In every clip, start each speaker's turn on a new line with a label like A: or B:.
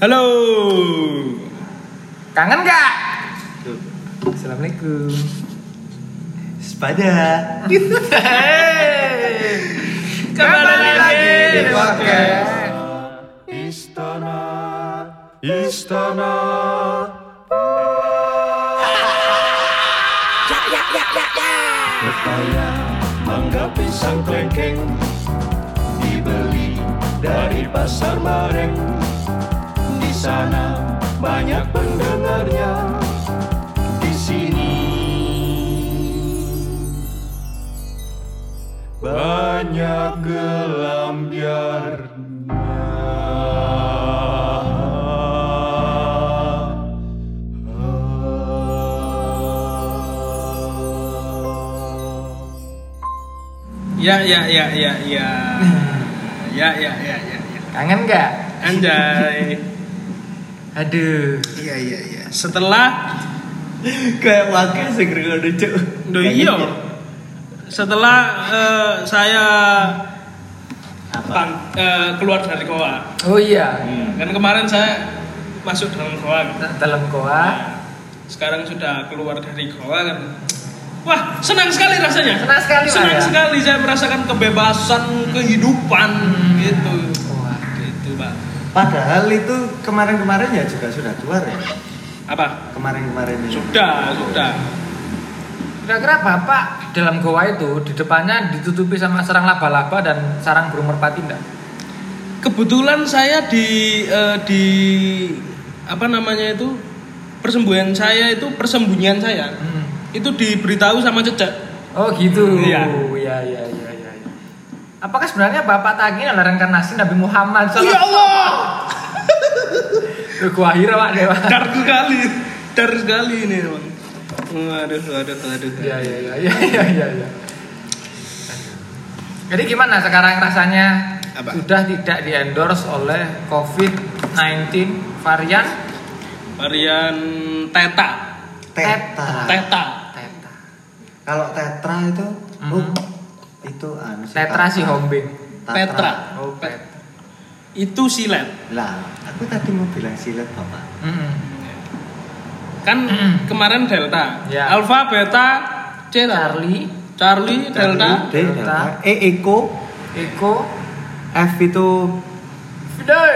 A: Halo.
B: Kangen gak? Assalamualaikum.
C: Sepada.
B: Kembali lagi di podcast.
C: Istana. Istana. Pepaya, mangga, pisang, klengkeng dibeli dari pasar bareng. Di sana banyak pendengarnya. Di sini banyak gelam
A: Ya ya ya ya ya. Ya ya ya ya. ya.
B: Kangen gak?
A: Anjay.
B: Aduh.
A: Iya iya iya. Setelah
C: Kayak wakil segera lucu.
A: do
C: iya. gitu.
A: iyo. iya. Setelah eh, saya bang, eh, keluar dari koa.
B: Oh iya.
A: Kan kemarin saya masuk dalam koa. Gitu.
B: Dalam koa.
A: Sekarang sudah keluar dari koa kan. Wah, senang sekali rasanya.
B: Senang sekali, Pak,
A: Senang
B: ya?
A: sekali saya merasakan kebebasan kehidupan
B: Hmm.
A: gitu.
B: Wah.
A: Gitu, Pak.
C: Padahal itu kemarin-kemarin ya juga sudah keluar ya.
A: Apa?
C: Kemarin-kemarin ini.
A: Sudah, sudah.
B: Kira-kira bapak dalam goa itu di depannya ditutupi sama sarang laba-laba dan sarang burung merpati enggak?
A: Kebetulan saya di eh, di apa namanya itu persembunyian saya itu persembunyian saya
B: Hmm.
A: itu diberitahu sama cecek.
B: Oh gitu.
A: Iya.
B: Iya iya iya iya. iya. Apakah sebenarnya bapak tadi adalah reinkarnasi Nabi Muhammad?
A: Ya Allah,
B: Duh, Gua hira pak Dewa.
A: dar sekali, dar sekali ini. Bang. Waduh, waduh, waduh.
B: Iya iya iya iya iya iya. Ya. Jadi gimana sekarang rasanya?
A: Apa?
B: Sudah tidak diendorse oleh COVID-19 varian
A: Varian teta,
C: Tetra.
A: teta.
B: Teta.
C: Kalau tetra itu,
B: Mhm.
C: oh, itu anu sih,
B: Tetra si Hombing.
C: Tatra.
A: Tetra.
B: Oh, Pet.
A: Itu silet.
C: Lah, aku tadi mau bilang silet bapak.
B: Mm.
A: Kan
B: Mm.
A: kemarin delta,
B: Ya.
A: alfa, beta, delta,
B: Charlie,
A: Charlie, delta,
C: D, delta. E, Eko,
B: Eko,
C: F itu
B: Fidel.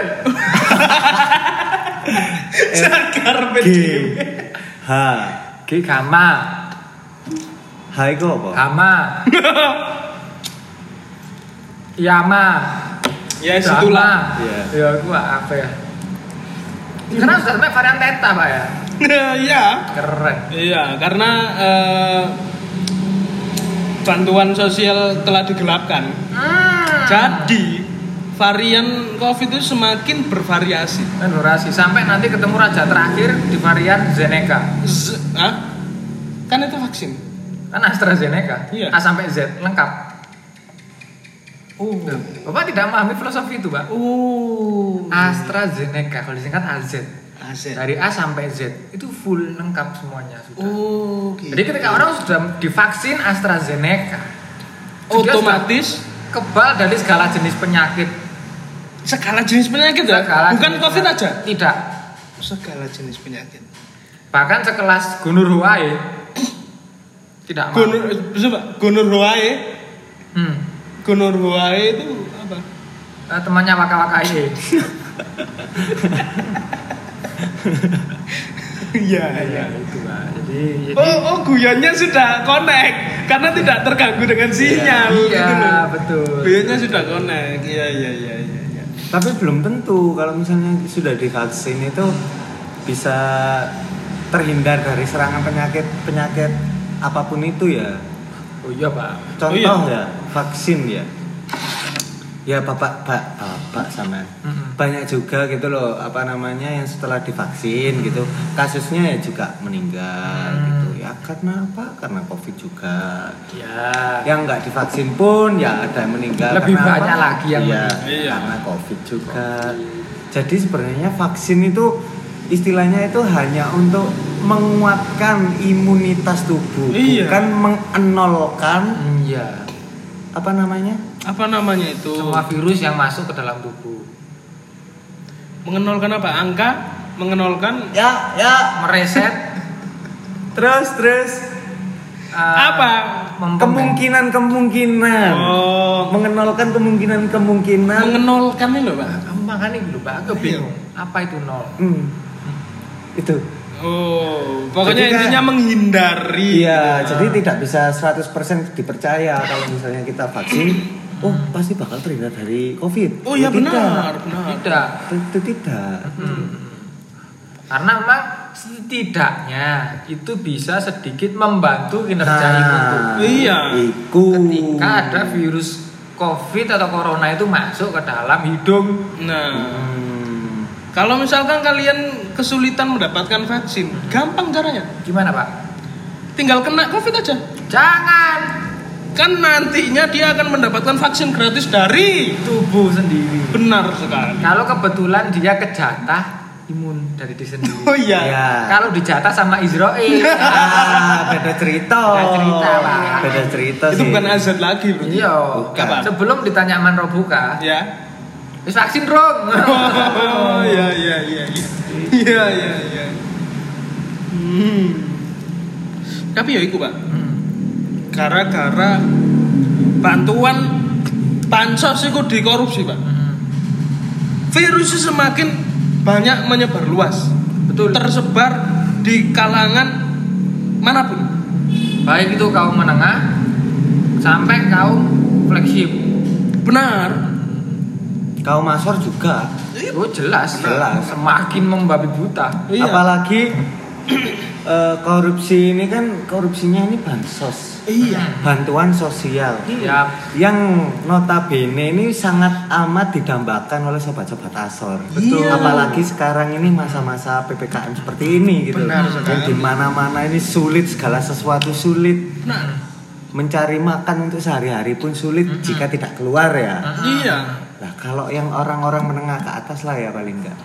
A: Sakar
C: G, H,
B: G Gama,
C: H itu apa?
B: Gama. Yama.
A: Ya
B: Drama.
A: situlah.
C: Iya.
B: Ya, gua apa ya? Karena sudah sampai varian Teta, Pak ya.
A: Iya.
B: Keren.
A: Iya, karena eh, bantuan sosial telah digelapkan.
B: Hmm.
A: Jadi varian COVID itu semakin bervariasi.
B: Dan Kan durasi sampai nanti ketemu raja terakhir di varian Zeneca.
A: Z- Hah? Kan itu vaksin.
B: Kan AstraZeneca.
A: Iya.
B: A sampai Z lengkap.
A: Oh.
B: Uh. Bapak tidak memahami filosofi itu, Pak.
A: Oh.
B: AstraZeneca kalau disingkat AZ.
A: Aset.
B: Dari A sampai Z itu full lengkap semuanya sudah.
A: Oh. gitu.
B: Jadi ketika orang sudah divaksin AstraZeneca juga
A: otomatis
B: sudah kebal dari segala jenis penyakit.
A: segala jenis penyakit ya?
B: Segala
A: Bukan
B: jenis
A: COVID
B: penyakit.
A: aja.
B: Tidak.
A: Segala jenis penyakit.
B: Bahkan sekelas Gunur Huai tidak mau.
A: Gunur, coba Gunur Huae,
B: Hmm.
A: Gunur Huae itu apa?
B: Eh, temannya Waka Waka ini.
A: Iya,
B: Ya, itu Pak. Jadi, jadi
A: Oh, oh guyonnya sudah connect karena tidak terganggu dengan sinyal.
B: iya,
A: gitu loh.
B: betul.
A: Guyonnya sudah connect. Iya, iya, iya, iya. iya.
C: Tapi belum tentu kalau misalnya sudah divaksin itu bisa terhindar dari serangan penyakit penyakit apapun itu ya.
B: Oh iya, Pak.
C: Contoh
A: Oh iya.
C: ya vaksin ya. Ya bapak pak bapak sama
B: Mm-mm.
C: banyak juga gitu loh apa namanya yang setelah divaksin gitu kasusnya ya juga meninggal
B: Hmm.
C: gitu ya karena apa karena covid juga
B: Iya.
C: yang nggak divaksin pun ya ada yang meninggal
B: Lebih
C: Karena
B: banyak lagi yang
C: iya,
B: meninggal.
A: Iya.
C: karena covid juga jadi sebenarnya vaksin itu istilahnya itu hanya untuk menguatkan imunitas tubuh
A: Iya.
C: bukan mengenolkan
B: Iya.
C: apa namanya
A: Apa namanya itu?
B: Semua virus yang masuk ke dalam tubuh.
A: mengenolkan apa angka mengenolkan
C: ya ya
B: mereset
C: terus terus
B: eh,
A: apa
B: mempen-
C: kemungkinan kemungkinan
A: oh
C: mengenalkan kemungkinan kemungkinan
A: mengenolkan ini loh pak
B: kamu makan ini dulu pak aku bingung apa itu nol
C: Hmm. itu
A: oh pokoknya
C: Jadi kan-
A: intinya menghindari
C: iya jadi tidak bisa 100% dipercaya kalau misalnya kita vaksin oh pasti bakal terhindar dari covid
A: oh iya
C: Ya, tidak.
A: benar benar
B: tidak
C: itu tidak
B: karena memang setidaknya itu bisa sedikit membantu kinerja
C: Nah, Uh.
B: imun tubuh.
A: Iya.
C: Iku.
B: ketika ada virus covid atau corona itu masuk ke dalam hidung
A: nah
C: Hmm.
A: Kalau misalkan kalian kesulitan mendapatkan vaksin, gampang caranya.
B: gimana pak
A: Tinggal kena COVID aja.
B: jangan
A: Kan nantinya dia akan mendapatkan vaksin gratis dari
B: tubuh sendiri
A: benar sekali.
B: kalau kebetulan dia kejatah imun dari diri sendiri
A: Oh iya.
C: Ya.
B: kalau dijatah sama Israel Iya.
C: Ah, beda cerita.
B: Beda cerita, Pak.
C: Beda cerita
A: Itu
C: Iya sih.
A: bukan azad lagi, Bro.
B: iya
C: Bukan.
B: sebelum ditanya Manro buka
A: Ya.
B: wis vaksin rong
A: Oh iya iya iya. iya. Iya iya iya. Hmm. Tapi ya iku, Pak.
B: Hmm.
A: Gara-gara bantuan pansos itu dikorupsi, Pak.
B: Hmm.
A: virusnya semakin banyak menyebar luas
B: betul
A: tersebar di kalangan manapun
B: baik itu kaum menengah sampai kaum flagship
A: benar
C: Kau masor juga.
B: oh jelas
C: Jelas.
B: semakin membabi buta
A: Iya.
C: Apalagi eh, korupsi ini kan korupsinya ini bansos,
A: iya
C: bantuan sosial.
B: ya
C: Yang notabene ini sangat amat didambakan oleh sobat-sobat asor.
A: Betul.
C: Apalagi sekarang ini masa-masa ppkm seperti ini gitu.
A: Benar
C: Yang
A: sekali.
C: di mana-mana ini sulit segala sesuatu sulit.
A: benar
C: mencari makan untuk sehari-hari pun sulit jika tidak keluar ya.
A: iya
C: Nah, kalau yang orang-orang menengah ke atas lah ya paling enggak.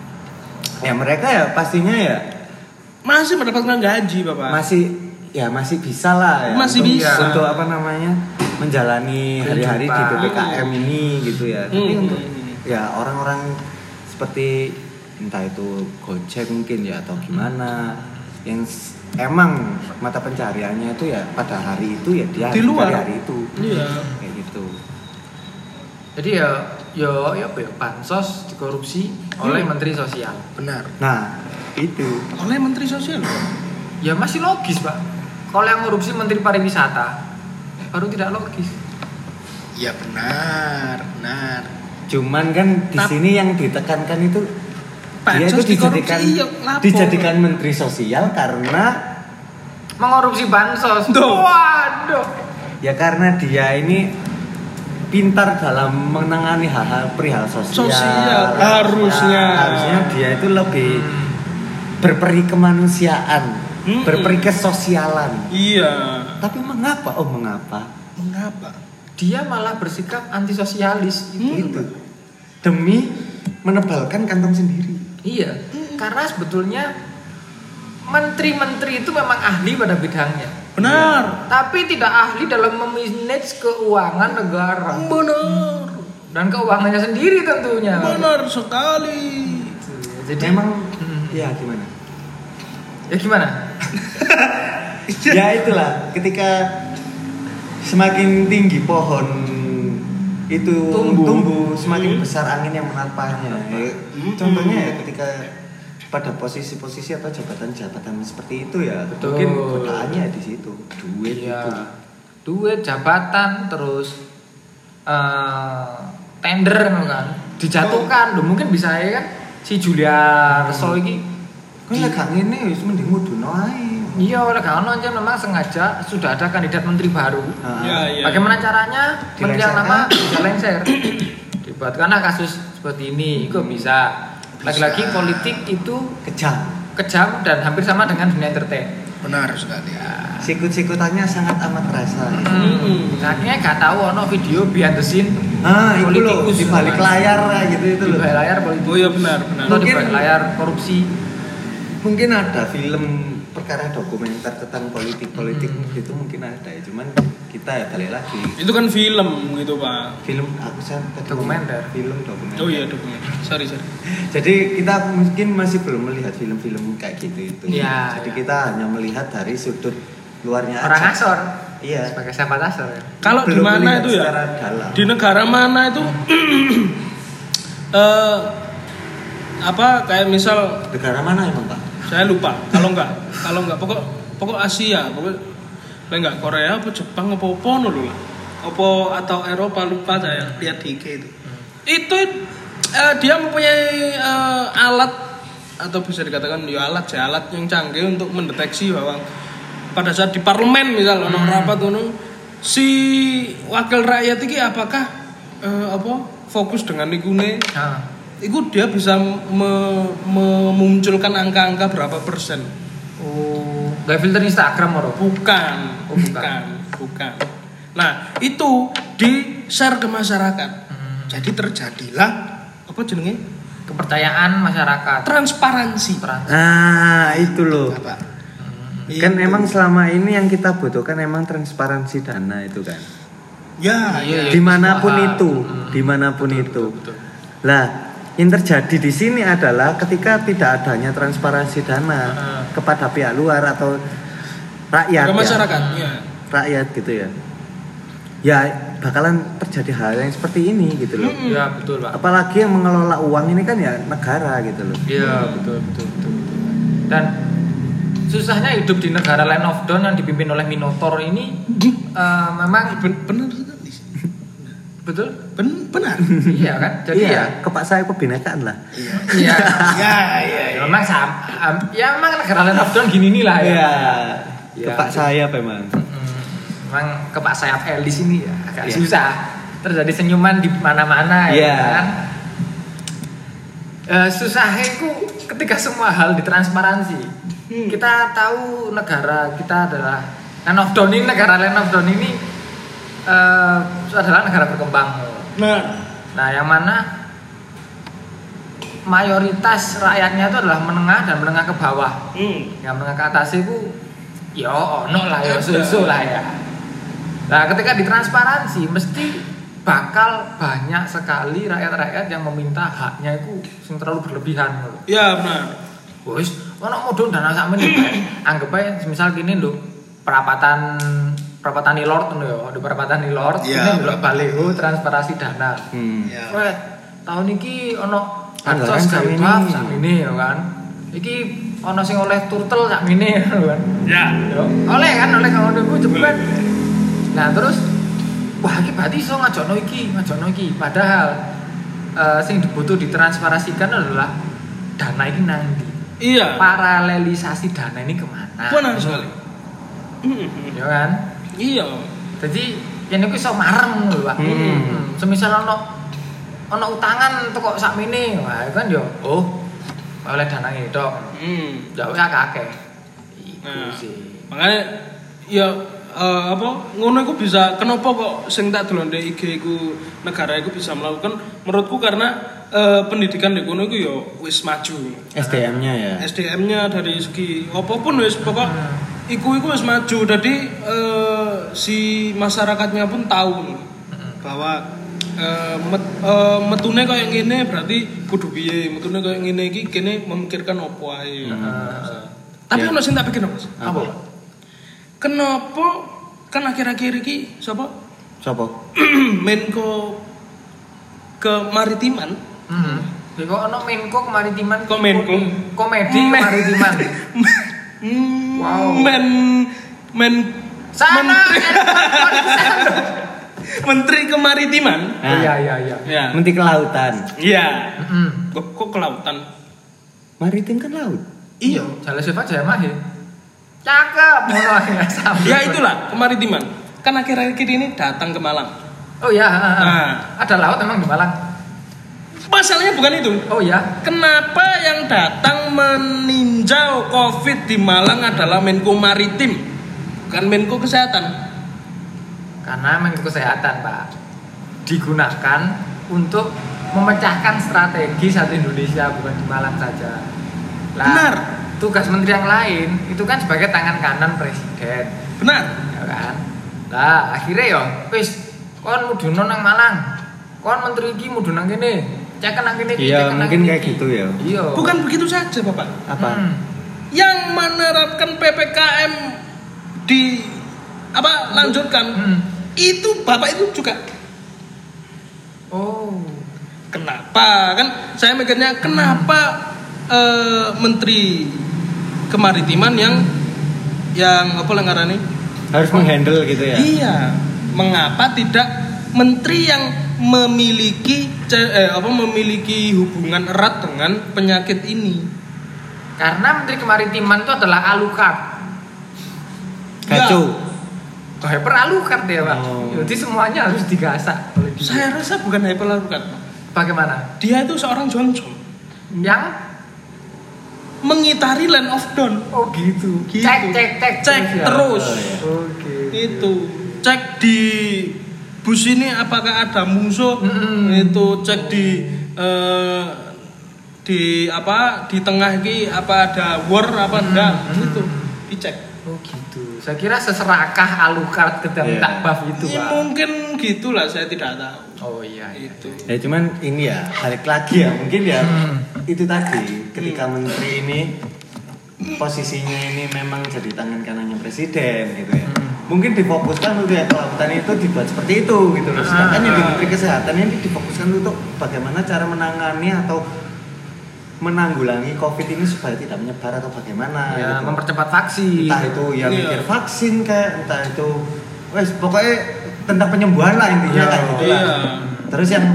C: Ya mereka ya pastinya ya
A: masih mendapatkan gaji bapak
C: masih ya masih bisa lah ya.
A: Masih
C: untuk,
A: bisa.
C: Untuk apa namanya? menjalani hari-hari di
B: Kehidupan.
C: PPKM ini gitu ya. Tapi
A: Hmm.
C: untuk ya orang-orang seperti entah itu Gojek mungkin ya atau gimana yang s- emang mata pencariannya itu ya pada hari itu ya dia
A: Di luar.
C: hari itu.
A: Iya.
C: Kayak gitu.
B: jadi ya ya ya apa ya bansos dikorupsi oleh menteri sosial
A: benar
C: Nah, itu.
A: oleh menteri sosial
B: ya masih logis pak kalau yang korupsi menteri pariwisata baru tidak logis
A: iya benar benar
C: Cuman kan di
A: Tap-
C: sini yang ditekankan itu dia itu
A: Bansos
C: dijadikan
A: dikorupsi, iya, lapor.
C: dijadikan menteri sosial karena
B: mengorupsi bansos
A: Tuh.
B: waduh
C: ya karena dia ini pintar dalam menangani hal-hal perihal sosial.
A: Sosial, harusnya. Hmm.
C: harusnya dia itu lebih berperi kemanusiaan,
A: Mm-mm.
C: berperi kesosialan.
A: iya
C: Tapi mengapa? Oh, mengapa?
A: mengapa
B: dia malah bersikap antisosialis gitu.
A: Hmm.
C: Itu demi menebalkan kantong sendiri.
B: Iya, karena sebetulnya menteri-menteri itu memang ahli pada bidangnya,
A: benar
B: tapi tidak ahli dalam memanage keuangan
A: Iya.
B: negara
A: benar
B: dan keuangannya sendiri tentunya.
A: benar sekali
B: Jadi
C: Memang
B: Hmm.
C: ya gimana?
B: ya gimana?
C: ya itulah ketika semakin tinggi pohon itu
B: Tumbuh.
C: tumbuh, semakin besar angin yang menerpanya Ya,
A: Hmm.
C: contohnya ya ketika pada posisi-posisi atau jabatan-jabatan seperti itu ya
B: Betul.
C: mungkin godaannya di situ duit
B: Iya.
C: itu
B: Duit, jabatan, terus eh, tender gitu kan, dijatuhkan, Loh, mungkin bisa ya kan? Si Julia Reso ini
C: kan lek gak ngene wis mending mudun ae
B: Iya, oleh karena aja memang sengaja sudah ada kandidat menteri baru.
C: Nah,
A: Ya, iya.
B: Bagaimana caranya menteri yang lama
C: Dilengsarkan.
B: bisa lengser? Dibuatkanlah kasus seperti ini, itu bisa. Lagi-lagi politik itu
C: kejam
B: kejam dan hampir sama dengan dunia entertain.
A: benar sekali
C: sikut-sikutannya sangat amat terasa
B: Hmm. Akhirnya gak tahu ono video behind the scene
C: ah itu loh di
B: Politikus
C: balik
B: namanya.
C: layar lah, gitu itu
B: di
C: loh
B: balik layar politik
A: oh iya benar benar
B: atau di
C: Mungkin-
B: balik layar korupsi.
C: mungkin ada film perkara dokumenter tentang politik-politik
A: Hmm.
C: itu mungkin ada ya. Cuman kita ya balik lagi
A: Itu kan film gitu pak.
C: film aku saya tadi
B: Dokumenter.
C: ngomong film dokumenter.
A: Oh iya dokumen. Sorry sorry.
C: Jadi kita mungkin masih belum melihat film-film kayak gitu itu.
B: Iya,
C: Jadi
B: iya.
C: kita hanya melihat dari sudut luarnya
B: orang
C: Ya, aja.
B: asor
C: Iya.
B: sebagai sahabat asor ya
A: Kalau di
C: Belum
A: mana
C: melihat
A: itu ya?
C: secara dalam.
A: Di negara mana itu? eh apa kayak misal
C: Negara mana emang Pak?
A: saya lupa kalau enggak kalau enggak pokok pokok Asia pokok lah enggak Korea apa Jepang apa apa dulu lah apa atau Eropa lupa saya lihat di IG itu itu eh, dia mempunyai eh, alat atau bisa dikatakan ya alat ya alat yang canggih untuk mendeteksi bahwa pada saat di parlemen misal ono rapat ono si wakil rakyat ini apakah eh, apa fokus dengan ikune
B: Nah,
A: itu dia bisa me- memunculkan angka-angka berapa persen
B: oh gak filter Instagram orang
A: bukan
B: Oh, bukan.
A: bukan bukan nah itu di share ke masyarakat
B: Hmm.
A: jadi terjadilah apa jenenge
B: kepercayaan masyarakat
A: transparansi
B: Peran-
C: Ah, itu loh.
A: Bapak.
B: Hmm.
C: Kan
A: Itu.
C: emang selama ini yang kita butuhkan emang transparansi dana itu kan.
A: ya ya
B: Iya,
C: dimanapun
B: semua hal.
C: itu,
B: Mm.
C: dimanapun itu.
A: betul.
C: Lah, yang terjadi di sini adalah ketika tidak adanya transparansi dana
B: Ah.
C: kepada pihak luar atau rakyat,
B: iya.
A: ke
C: ya,
A: masyarakat ya
C: rakyat gitu ya, ya bakalan terjadi hal yang seperti ini gitu loh.
A: Mm-mm.
B: iya betul pak
C: Apalagi yang mengelola uang ini kan ya negara gitu loh.
B: Iya betul, betul betul betul. Dan susahnya hidup di negara Land of Dawn yang dipimpin oleh Minotaur ini eh, memang
A: Ben- benar
B: betul
A: Ben- benar
B: iya kan jadi
C: iya,
B: ya
C: kepaksa kebinekaan lah.
B: iya
A: ya ya
B: Ya, memang sam am- ya memang negara Land of Dawn gini nih lah
A: Iya.
B: ya. Iya.
C: kepak saya memang.
B: Mm, memang kepak sayap elis ini ya agak
C: Iya.
B: susah terjadi senyuman di mana-mana ya
C: Iya.
B: kan. Eh, susahnya itu ketika semua hal ditransparansi.
A: Hmm.
B: Kita tahu negara kita adalah Land of Dawn ini negara Land of Dawn ini eh, adalah negara berkembang.
A: nah
B: Nah, yang mana mayoritas rakyatnya itu adalah menengah dan menengah ke bawah
A: hmm.
B: yang menengah ke atas itu ya ono lah ya susu lah ya nah ketika ditransparansi mesti bakal banyak sekali rakyat-rakyat yang meminta haknya itu yang terlalu berlebihan loh
A: ya benar
B: wis ono modal dana sak menit anggap aja misal gini lho perapatan perapatan Nilord lho ya di perapatan Nilord
A: Iya.
B: ini lho baliho transparansi dana
C: Hmm.
A: ya
B: Weh, tahun ini ono
C: Anggaran
B: bansos
C: sak
B: gawe
C: ini.
B: bab sak ini ya kan. Iki ono sing oleh turtle sak ini ya kan.
A: ya
B: Yo, oleh kan oleh kawan aku jebret. Nah, terus wah iki berarti iso ngajakno iki, ngajakno iki. Padahal eh, sing butuh ditransparasikan adalah dana ini nang ndi.
A: iya
B: Paralelisasi dana ini kemana?
A: benar sekali
B: Ya kan?
A: iya
B: jadi yang itu iso marem lho pak
C: Hmm.
B: hmm. semisal ono ono utangan toko sak mini wah itu kan yo oh oleh dana ini dok
A: hmm.
B: jauh ya kakek itu
A: Nah.
B: sih
A: makanya ya eh, apa ngono iku bisa kenapa kok sing tak delonde IG iku negara iku bisa melakukan menurutku karena eh, pendidikan di kono iku ya wis maju
C: SDM-nya ya.
A: SDM-nya dari segi apapun wis pokok iku iku wis maju jadi eh, si masyarakatnya pun tahu bahwa eh, met, eh, metune kayak ngene berarti kudu piye metune kayak ngene iki kene memikirkan opo ae
B: Eh,
A: tapi
C: Ya.
A: ono sing tak pikir Mas
B: apa Pak?
A: kenapa kan akhir-akhir ini siapa
C: Sopo?
A: Menko kemaritiman
B: hmm. Jadi kok ono Menko kemaritiman
A: Kok Menko?
B: komedi
A: Men-
B: kemaritiman
A: Hmm,
B: Wow.
A: men men
B: sana
A: menteri,
B: Elton, sana.
A: menteri kemaritiman
C: Nah,
B: iya iya iya
A: ya
C: Menteri Kelautan.
A: iya
B: Mm.
A: kok, kok kelautan
C: Maritim kan laut.
A: iya
B: Jalan sifat jaya mahi cakep ngono ya sambil.
A: ya itulah kemaritiman kan akhir-akhir ini datang ke Malang
B: oh ya
A: Nah.
B: ada laut emang di Malang
A: masalahnya bukan itu
B: oh ya
A: kenapa yang datang meninjau covid di Malang adalah Menko Maritim bukan Menko Kesehatan
B: karena Menko Kesehatan Pak digunakan untuk memecahkan strategi satu Indonesia bukan di Malang saja. Lah,
A: Benar.
B: tugas menteri yang lain itu kan sebagai tangan kanan presiden
A: benar
B: ya kan lah akhirnya ya wis kon mudun nang Malang kon menteri iki mudun nang kene ceken nang kene iki,
C: Iya,
B: ceken nang
C: mungkin
B: kene
C: kayak
B: iki.
C: gitu ya.
B: iya
A: bukan begitu saja bapak
C: apa
B: Hmm.
A: yang menerapkan ppkm di apa lanjutkan
B: Hmm.
A: itu bapak itu juga
B: oh
A: kenapa kan saya mikirnya kenapa eh, menteri kemaritiman yang yang apa lah ngarani
C: harus menghandle gitu ya
A: iya mengapa tidak menteri yang memiliki ce- eh, apa memiliki hubungan erat dengan penyakit ini
B: karena menteri kemaritiman itu adalah alukar
C: kacau
B: hyper alukar ya, dia pak
C: Oh.
B: jadi semuanya harus digasak oleh dia.
A: Iya. saya rasa bukan hyperlarukan
B: bagaimana
A: dia itu seorang Johnson
B: yang
A: mengitari land of dawn
B: oh gitu,
A: Gitu.
B: cek cek cek
A: Cek
B: ya.
A: terus.
B: oh, gitu.
A: itu cek di bus ini apakah ada musuh
B: Mm-mm.
A: itu cek di eh, di apa di tengah ini apa ada war apa enggak
B: Mm-mm.
A: itu dicek
B: oh gitu saya kira seserakah alukar ke dalam
C: Iya.
B: takbaf itu
A: ya,
B: pak
A: mungkin gitulah saya tidak tahu
B: oh iya iya.
A: itu
C: ya cuman ini ya balik lagi ya mungkin ya
B: Hmm.
C: itu tadi ketika menteri ini posisinya ini memang jadi tangan kanannya presiden gitu ya
B: Hmm.
C: mungkin difokuskan untuk yang kelautan itu dibuat seperti itu gitu loh sedangkan yang di
B: Ah.
C: menteri kesehatan ini difokuskan untuk bagaimana cara menangani atau menanggulangi covid ini supaya tidak menyebar atau bagaimana
B: ya
C: gitu.
B: mempercepat vaksin
C: entah itu ya
A: Iya.
C: mikir vaksin kayak entah itu wes pokoknya tentang penyembuhan lah intinya
B: Iya.
C: kayak gitu lah
A: Iya.
C: terus yang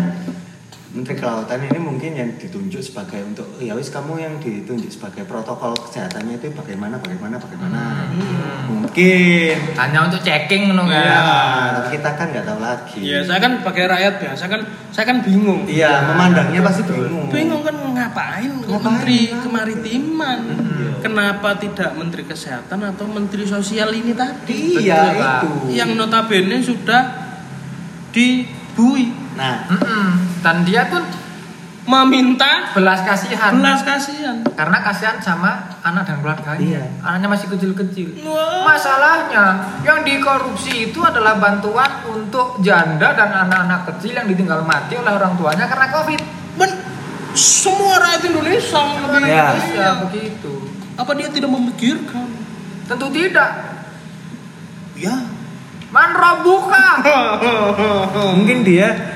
C: Menteri Kelautan ini mungkin yang ditunjuk sebagai untuk ya wis kamu yang ditunjuk sebagai protokol kesehatannya itu bagaimana bagaimana bagaimana mungkin
B: hanya untuk checking no
A: Hmm. Iya.
C: ya
B: kan
C: tapi kita kan nggak tahu lagi
A: ya saya kan pakai rakyat biasa kan saya kan bingung
C: Iya, memandangnya pasti bingung
A: bingung kan ngapain kok
C: Ngapain,
A: menteri
C: kan?
A: kemaritiman kenapa tidak menteri kesehatan atau menteri sosial ini tadi
C: iya
B: Betul, Pak.
C: itu
A: yang notabene sudah dibui
C: nah
B: Mm-mm. dan dia pun
A: meminta
B: belas kasihan
A: belas kasihan.
B: karena kasihan sama anak dan
C: Iya.
B: keluarganya anaknya masih kecil-kecil
A: Wah.
B: masalahnya yang dikorupsi itu adalah bantuan untuk janda dan anak-anak kecil yang ditinggal mati oleh orang tuanya karena covid
A: Ben- semua rakyat Indonesia lebih
C: Iya.
B: Iya, begitu
A: apa dia tidak memikirkan?
B: tentu tidak
C: ya
B: man buka
C: mungkin dia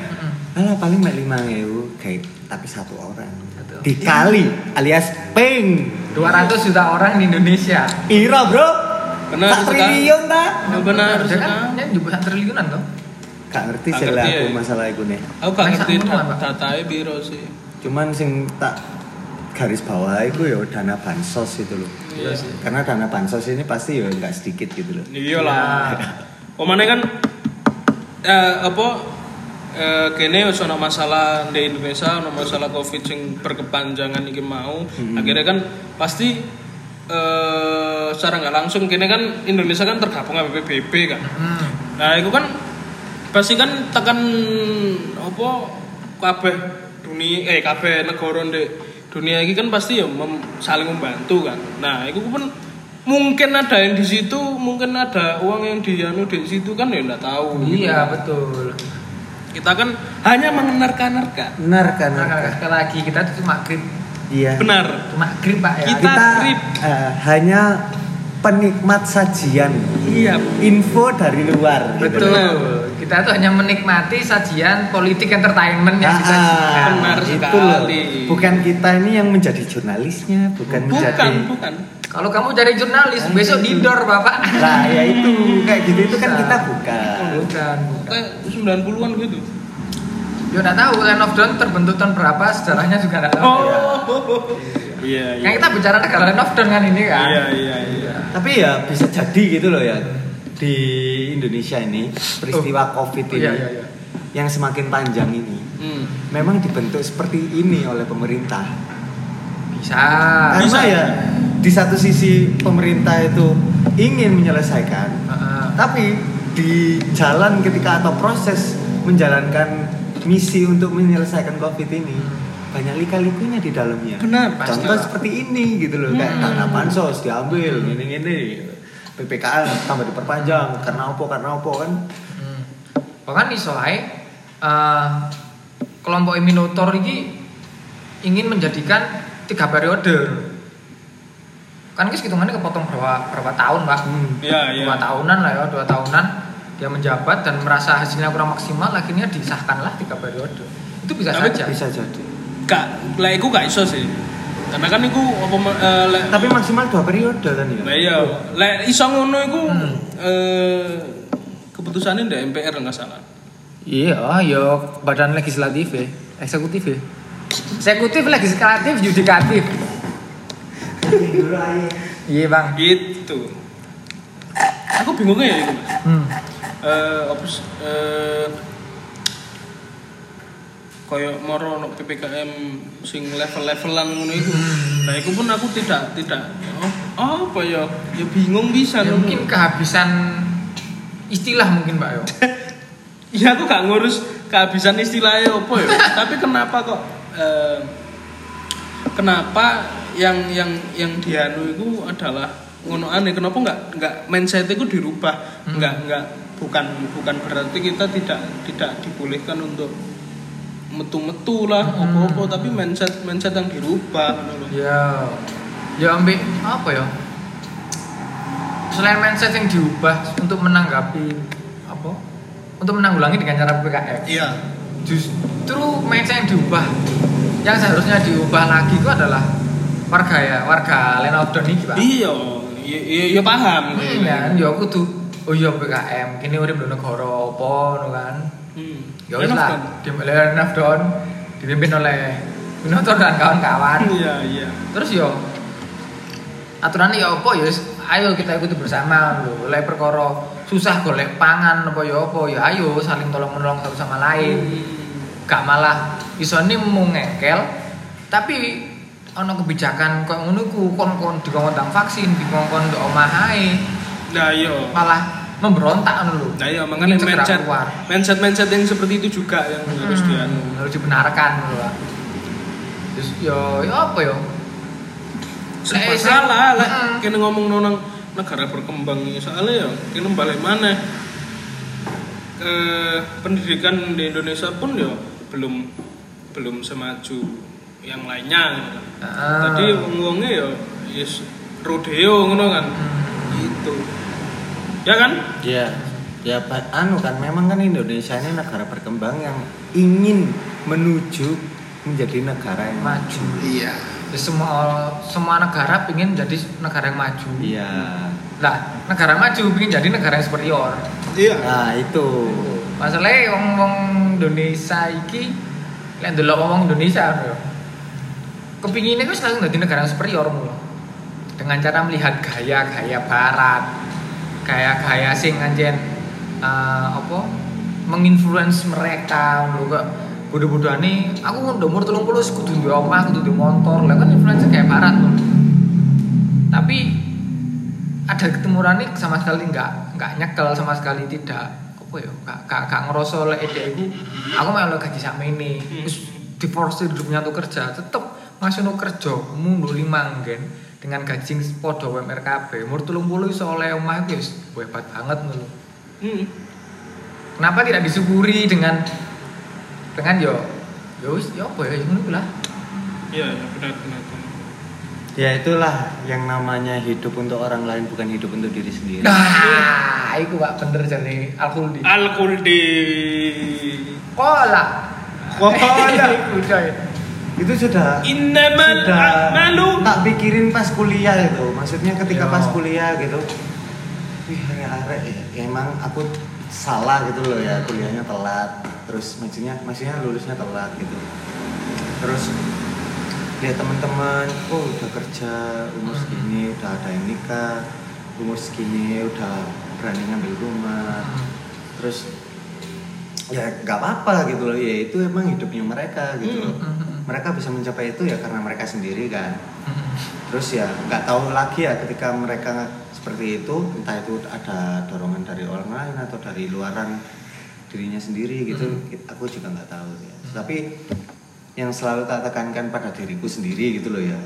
C: Alah paling mbak lima ewu kayak tapi satu orang
B: Betul.
C: dikali alias peng
B: 200 juta orang di Indonesia
C: Ira bro
A: Benar,
C: Sak
A: Sekar.
C: triliun tak
A: Nah, benar
B: Dia kan
A: sekali.
B: dia juga triliunan loh
C: gak ngerti
A: Gak
C: sih lah
A: ngerti
C: aku
A: ya.
C: masalah itu nih
A: Aku gak
B: Masa
A: ngerti
B: menurut, Pak?
A: datanya biro sih.
C: cuman sing tak garis bawah itu ya dana bansos itu loh
A: Iya sih.
C: karena dana bansos ini pasti ya nggak sedikit gitu loh
A: Iya lah. Omane kan eh, apa eh, kene wis ana masalah di Indonesia, ana masalah Covid sing berkepanjangan iki mau. Akhirnya kan pasti eh, secara nggak langsung kene kan Indonesia kan tergabung sama PBB kan.
B: Hmm.
A: Nah, itu kan pasti kan tekan apa kabeh dunia eh kabeh negara di dunia ini kan pasti ya mem- saling membantu kan. Nah, itu pun mungkin ada yang di situ, mungkin ada uang yang di anu di situ kan ya nggak tahu. gitu.
B: Iya betul.
A: Kita kan hanya menerka-nerka.
C: benar kan
B: Nah, kalau sekali lagi kita itu cuma grip,
C: iya
A: Benar.
B: cuma grip pak ya.
A: Kita-
C: kita
A: trip.
C: eh, hanya penikmat sajian
A: Iya.
C: info dari luar gitu
B: betul. Kita tuh hanya menikmati sajian politik entertainment yang
C: Ah,
B: disajikan.
A: benar
C: itu loh.
A: sekali.
C: Bukan kita ini yang menjadi jurnalisnya, bukan, menjadi
A: Bukan, bukan.
B: Kalau kamu jadi jurnalis besok didor bapak.
C: Lah ya itu kayak gitu itu kan kita bukan.
A: Iya.
B: Bukan, bukan.
A: Kayak 90-an gitu.
B: Ya udah tahu Land of Dawn terbentuk tahun berapa sejarahnya juga nggak tahu.
D: Oh.
A: Iya,
B: Yang kita bicara negara Land of Dawn kan ini kan.
A: Iya, iya, iya.
C: Tapi ya bisa jadi gitu loh ya di Indonesia ini peristiwa Covid ini
B: Iya, iya, iya.
C: yang semakin panjang ini
A: Hmm.
C: memang dibentuk seperti ini oleh pemerintah.
B: Ah, Bisa.
C: Karena
A: Bisa.
C: ya di satu sisi pemerintah itu ingin menyelesaikan,
B: Heeh.
C: tapi di jalan ketika atau proses menjalankan misi untuk menyelesaikan Covid ini banyak lika-likunya di dalamnya.
A: Benar,
B: pasti,
C: Contoh
B: Pak.
C: seperti ini gitu loh, kayak dana bansos diambil, gini-gini. Gitu. PPKN tambah diperpanjang karena opo karena opo kan.
B: Hmm. Bahkan iso ae eh, kelompok Minotaur ini ingin menjadikan tiga periode. Kan guys hitungannya kepotong berapa, berapa tahun pak?
C: Hmm.
A: Iya, iya.
B: Dua tahunan lah ya, dua tahunan dia menjabat dan merasa hasilnya kurang maksimal, akhirnya disahkanlah tiga periode. Itu bisa
A: Tapi
B: saja.
C: Bisa jadi.
A: Kak, lah iku gak iso sih. Karena kan iku apa eh, lek
C: Tapi maksimal dua periode kan ya.
A: Lah iya, lek iso ngono iku
B: Hmm.
A: eh keputusannya ndak MPR nggak salah.
B: Iya, yo badan legislatif ya, eksekutif ya. Eksekutif, legislatif, yudikatif. Iya bang.
A: Gitu. Aku bingungnya ya itu. Mas.
B: Hmm.
A: Eh apa sih, eh koyo moro ono PPKM sing level-levelan ngono iku.
B: Hmm.
A: Nah, iku pun aku tidak tidak oh, apa ya? Ya bingung bisa
B: Ya, mungkin kehabisan istilah mungkin Pak Yo.
A: Ya aku gak ngurus kehabisan istilahnya apa ya. Tapi kenapa kok eh, kenapa yang yang yang dianu itu adalah ngono aneh kenapa nggak nggak mindset itu dirubah
B: Hmm.
A: nggak nggak bukan bukan berarti kita tidak tidak dibolehkan untuk metu-metu lah
B: Hmm.
A: opo-opo tapi mindset mindset yang dirubah ngono loh.
B: Ya. Ya ambil apa ya? Selain mindset yang diubah untuk menanggapi apa? Untuk menanggulangi dengan cara PPKM.
A: iya
B: Justru mindset yang diubah yang seharusnya diubah lagi itu adalah warga ya, warga Land of Dawn ini Pak.
A: iya iya iya iya paham
B: Hmm, kan, ya aku tuh oh iya PPKM, kini urip di negara apa ngono kan.
A: Hmm.
B: Ya wis
A: Enak
B: lah,
A: kan?
B: di Land of Dawn dipimpin oleh Minotaur dan kawan-kawan.
A: iya iya
B: terus yo aturannya ya apa ya wis, ayo kita ikuti bersama lho lek perkara susah golek pangan apa ya apa ya ayo saling tolong menolong satu sama lain gak malah iso mau ngekel tapi ono kebijakan kok ngono ku kon kon dikongkon tentang vaksin dikongkon ndok omah ae
A: nah iya
B: malah memberontak ngono lho
A: Nah iya, makanya
B: Ingin segera
A: mindset,
B: keluar.
A: mindset mindset yang seperti itu juga yang harus dia. anu.
B: Hmm, harus dibenarkan ngono lho terus yo yo apa yo
A: Serba
B: Lah, iya.
A: salah lah,
B: Mm-mm.
A: kena ngomong nonang negara berkembang ini soalnya ya, kena balik mana? Eh, pendidikan di Indonesia pun ya belum belum semaju yang lainnya. gitu kan.
B: Ah.
A: Tadi ngomongnya ya, yes, rodeo ngono kan,
B: Hmm,
A: gitu. Ya kan?
C: Iya. Ya pa- anu kan memang kan Indonesia ini negara berkembang yang ingin menuju menjadi negara yang
B: maju iya semua semua negara pingin jadi negara yang maju
C: Iya.
B: lah negara maju pingin jadi negara yang superior
A: Iya.
C: Nah, itu.
B: masalahnya wong wong Indonesia iki lek ndelok wong Indonesia lho. kepinginnya itu langsung jadi negara yang superior mulu dengan cara melihat gaya-gaya barat gaya-gaya sing anjen eh, apa menginfluence mereka lho kok bodoh-bodohan aku udah umur 30 puluh kudu duwe omah kudu duwe motor lah kan influence kayak barat lho. tapi ada ketemuran nih sama sekali nggak nggak nyekel sama sekali tidak apa ya nggak nggak nggak ngerasa oleh ide aku aku malah gaji sama ini terus diforsir hidupnya tuh kerja tetep masih nu kerja mundur lima nggen dengan gaji yang podo WMRKB umur tulung puluh iso oleh omah itu ya wis hebat banget nulu
A: Hmm.
B: kenapa tidak disyukuri dengan dengan yo yo wis yo apa ya yo ngono lah
A: Iya, iya, benar benar. benar.
C: Ya itulah yang namanya hidup untuk orang lain bukan hidup untuk diri sendiri.
B: nah itu pak bener jadi alkuldi
A: Al-Quldi.
B: kola
C: Wah, ya.
B: Udah.
C: itu sudah
A: Innamal
C: sudah
A: a'malu
C: tak pikirin pas kuliah itu maksudnya ketika
B: Iya.
C: pas kuliah gitu wih arek-arek ya, ya emang aku salah gitu loh ya kuliahnya telat terus maksudnya maksudnya lulusnya telat gitu terus lihat teman-teman oh udah kerja umur segini udah ada yang nikah umur segini udah berani ngambil rumah terus ya nggak apa-apa gitu loh ya itu emang hidupnya mereka gitu loh
B: Mhm.
C: mereka bisa mencapai itu ya karena mereka sendiri kan terus ya nggak tahu lagi ya ketika mereka seperti itu entah itu ada dorongan dari orang lain atau dari luaran dirinya sendiri gitu aku juga nggak tahu ya tapi yang selalu tak tekankan pada diriku sendiri gitu loh ya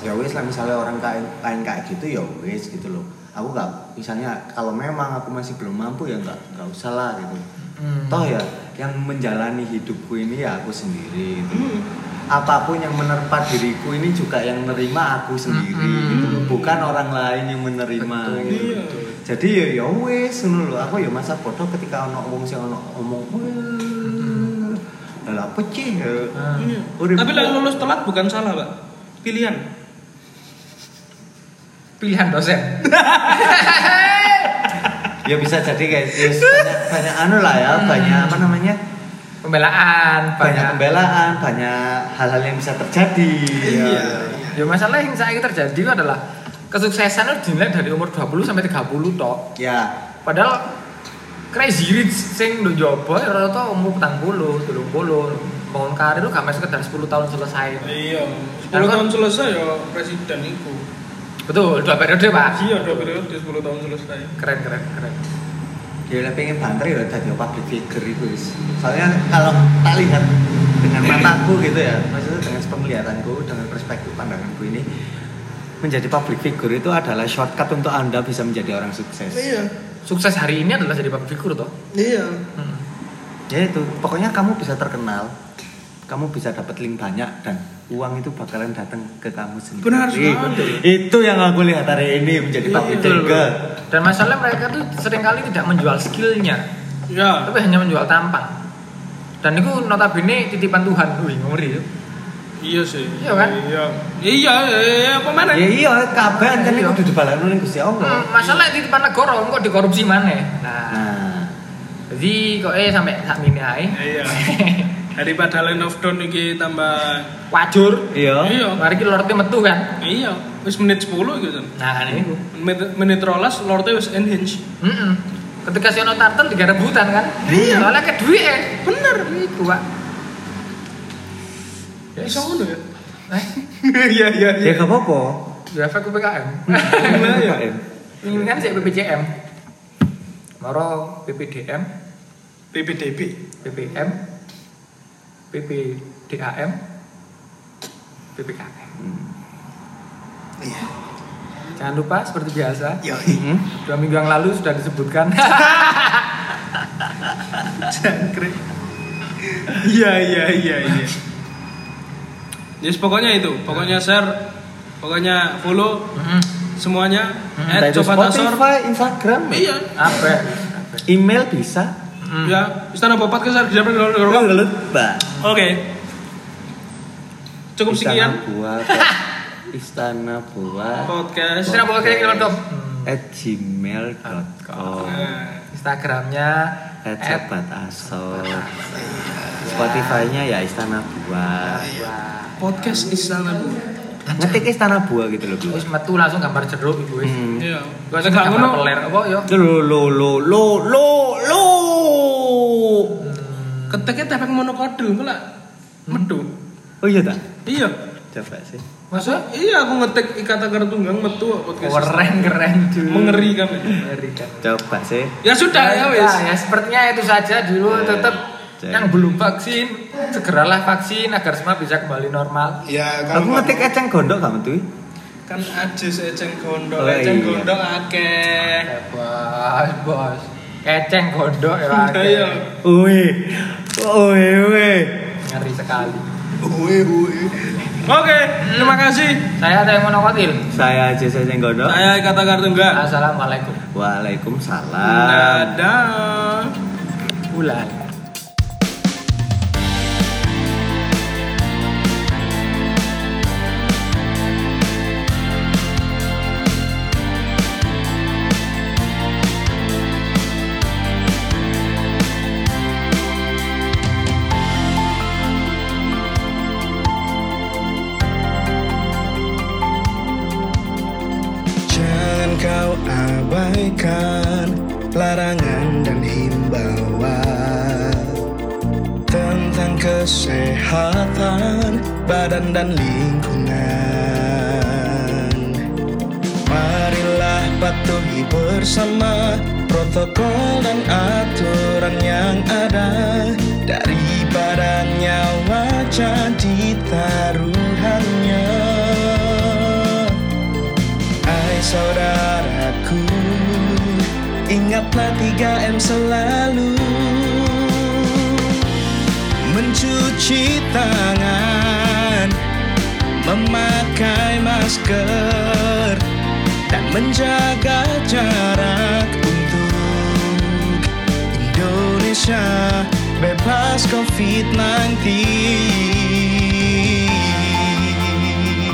C: ya wes lah misalnya orang kain, lain kayak gitu ya wes gitu loh aku nggak misalnya kalau memang aku masih belum mampu ya nggak nggak usah lah gitu
B: Hmm.
C: toh ya yang menjalani hidupku ini ya aku sendiri gitu loh. apapun yang menerpa diriku ini juga yang menerima aku sendiri
B: Mm-mm.
C: gitu loh bukan orang lain yang menerima
B: Betul.
C: gitu loh.
A: Iya.
C: jadi ya ya wes ngono lho aku ya masa bodoh ketika ono wong sing ono omong "Wah, lah pecih ya."
B: Ah.
A: Iya.
C: Urip-
A: Tapi lah lulus telat bukan salah, Pak. Pilihan.
B: pilihan dosen
C: ya bisa jadi guys Yes, banyak, banyak anu lah ya banyak apa namanya
B: pembelaan
C: banyak pembelaan banyak hal-hal yang bisa terjadi
A: Iya.
B: ya masalah yang saya terjadi itu adalah kesuksesan itu dinilai dari umur 20 sampai 30 tok
C: ya
B: padahal crazy rich sing do jobo ya rata umur petang bulu telung bulu bangun karir lu gak masuk sekedar 10 tahun selesai
A: Iya. 10
B: Lalu kan-
A: tahun selesai ya presiden itu.
B: betul dua periode pak
A: Iya, dua periode 10 tahun selesai.
B: keren keren keren
C: dia udah pengen banter ya jadi public figure itu guys soalnya kalau tak lihat dengan mataku gitu ya maksudnya dengan penglihatanku dengan perspektif pandanganku ini menjadi public figure itu adalah shortcut untuk anda bisa menjadi orang sukses
B: sukses hari ini adalah jadi public figure toh
A: Iya.
B: Hmm.
C: ya itu pokoknya kamu bisa terkenal kamu bisa dapat link banyak dan uang itu bakalan datang ke kamu sendiri
A: Benar sekali.
C: itu yang aku lihat hari ini menjadi
A: Iya,
C: public
B: betul
C: figure
B: dan masalah mereka tuh seringkali tidak menjual skillnya
A: Ya.
B: tapi hanya menjual tampang dan itu notabene titipan Tuhan wih ngeri ya. itu
A: Iya sih.
B: Iya kan?
A: Iya. Iya, iya, apa mana?
C: ya iya kabar kan
B: Iya.
C: itu udah balanan oleh Gusti
B: Hmm,
C: Allah
B: masalah titipan negara kok dikorupsi mana nah
C: nah
B: jadi kok eh sampai tak minai
A: Iya. Daripada Land of Dawn ini tambah
B: wajur
C: iya
A: Iya.
B: mari kita lordnya metu kan
A: Iya. Wis menit 10 gitu.
B: nah kan ini Bu.
A: Menit, menit rolas Lorde wis unhinged.
B: Mm-mm. ketika si ono tartel tiga rebutan kan
A: Iya.
B: soalnya ke duit ya bener itu pak
A: Iso ngono ya?
B: eh
A: Iya, iya,
C: ya gak apa-apa
B: berapa aku PKM
A: Gimana ya?
B: ini kan saya PPJM moro PPDM
A: PPDB.
B: PPM PPDAM PPKM
A: Iya.
B: jangan lupa seperti biasa
A: Yoi.
C: Hmm?
B: dua minggu yang lalu sudah disebutkan
A: Jangkrik. Iya iya iya iya. Jadi pokoknya itu, pokoknya share, pokoknya follow
B: Mm-mm.
A: semuanya.
C: Entah
A: Eh,
C: itu
A: coba tasor.
C: Spotify, Instagram,
A: Iya.
B: apa ya?
C: email bisa.
B: Mm.
A: Ya, istana bopat ke share di dapur, di dapur, di dapur.
C: Ngelut, Mbak.
A: Oke. kan? Cukup
C: Istana
A: sekian Oh,
C: buah. Istana buah.
A: podcast.
B: Istana Buah Kering Lodom.
C: At gmail.com.
A: Nah,
B: Instagramnya
C: At
B: at-
C: sobat asor. Spotify-nya ya Istana Buah.
B: Wah.
A: Podcast istana bu.
C: Ngetik Istana Buah gitu loh, Bu.
B: Terus metu langsung gambar jeruk ibu wis.
C: Hmm.
A: Iya.
B: Gak usah
A: Nggak
B: gambar
A: ngono.
B: peler apa yo.
C: Lo lo lo lo lo lo.
A: Keteknya tepeng monokode, malah metu.
C: Oh iya tak?
A: Iya.
C: Coba sih.
A: Masa? Iya, aku ngetik ikata kartu tunggang metu podcast.
B: Keren keren cuy.
A: Mengerikan.
B: Mengerikan.
C: Coba sih.
A: Ya sudah ya wis.
B: kan. Nah, ya sepertinya itu saja dulu
C: Ya.
B: tetap
C: Cek.
B: yang belum vaksin segeralah vaksin agar semua bisa kembali normal.
A: Ya
C: Aku ngetik eceng gondok kamu tuh.
A: kan ajus eceng gondok,
C: Oh,
A: eceng
C: iya.
A: gondok akeh.
B: Bos bos. Keceng gondok ya. Pak.
A: Ayo.
C: Uwe, uwe, uwe.
B: Ngeri sekali.
A: Oke, terima kasih.
B: Saya Teh Monokotil.
C: Saya JC Senggono.
A: Saya kata kartu enggak.
B: Assalamualaikum.
C: Waalaikumsalam.
A: Dadah.
B: Bulan.
D: Jangan kau abaikan larangan dan himbauan tentang kesehatan badan dan lingkungan. Marilah patuhi bersama protokol dan aturan yang ada dari Pada nyawa jadi taruhannya Hai saudaraku Ingatlah 3M selalu Mencuci tangan Memakai masker Dan menjaga jarak untuk Indonesia bebas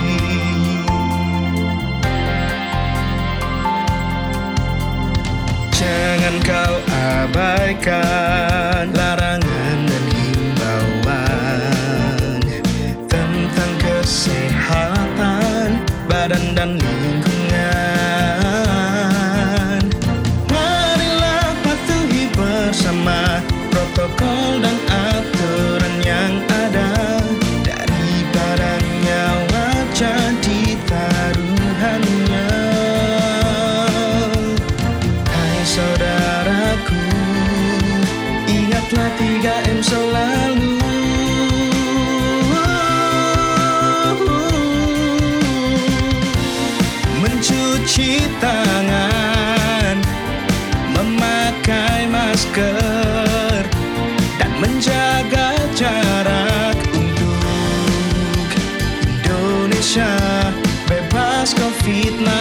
D: COVID-19 Jangan kau abaikan larangan dan himbauan tentang kesehatan badan dan lingkungan. Marilah patuhi bersama protokol dan aturan yang ada daripada nyawa jadi taruhannya. Hai saudaraku, ingatlah 3M selalu. Mencuci tangan, memakai masker, dan menjaga jarak untuk Indonesia bebas COVID-19.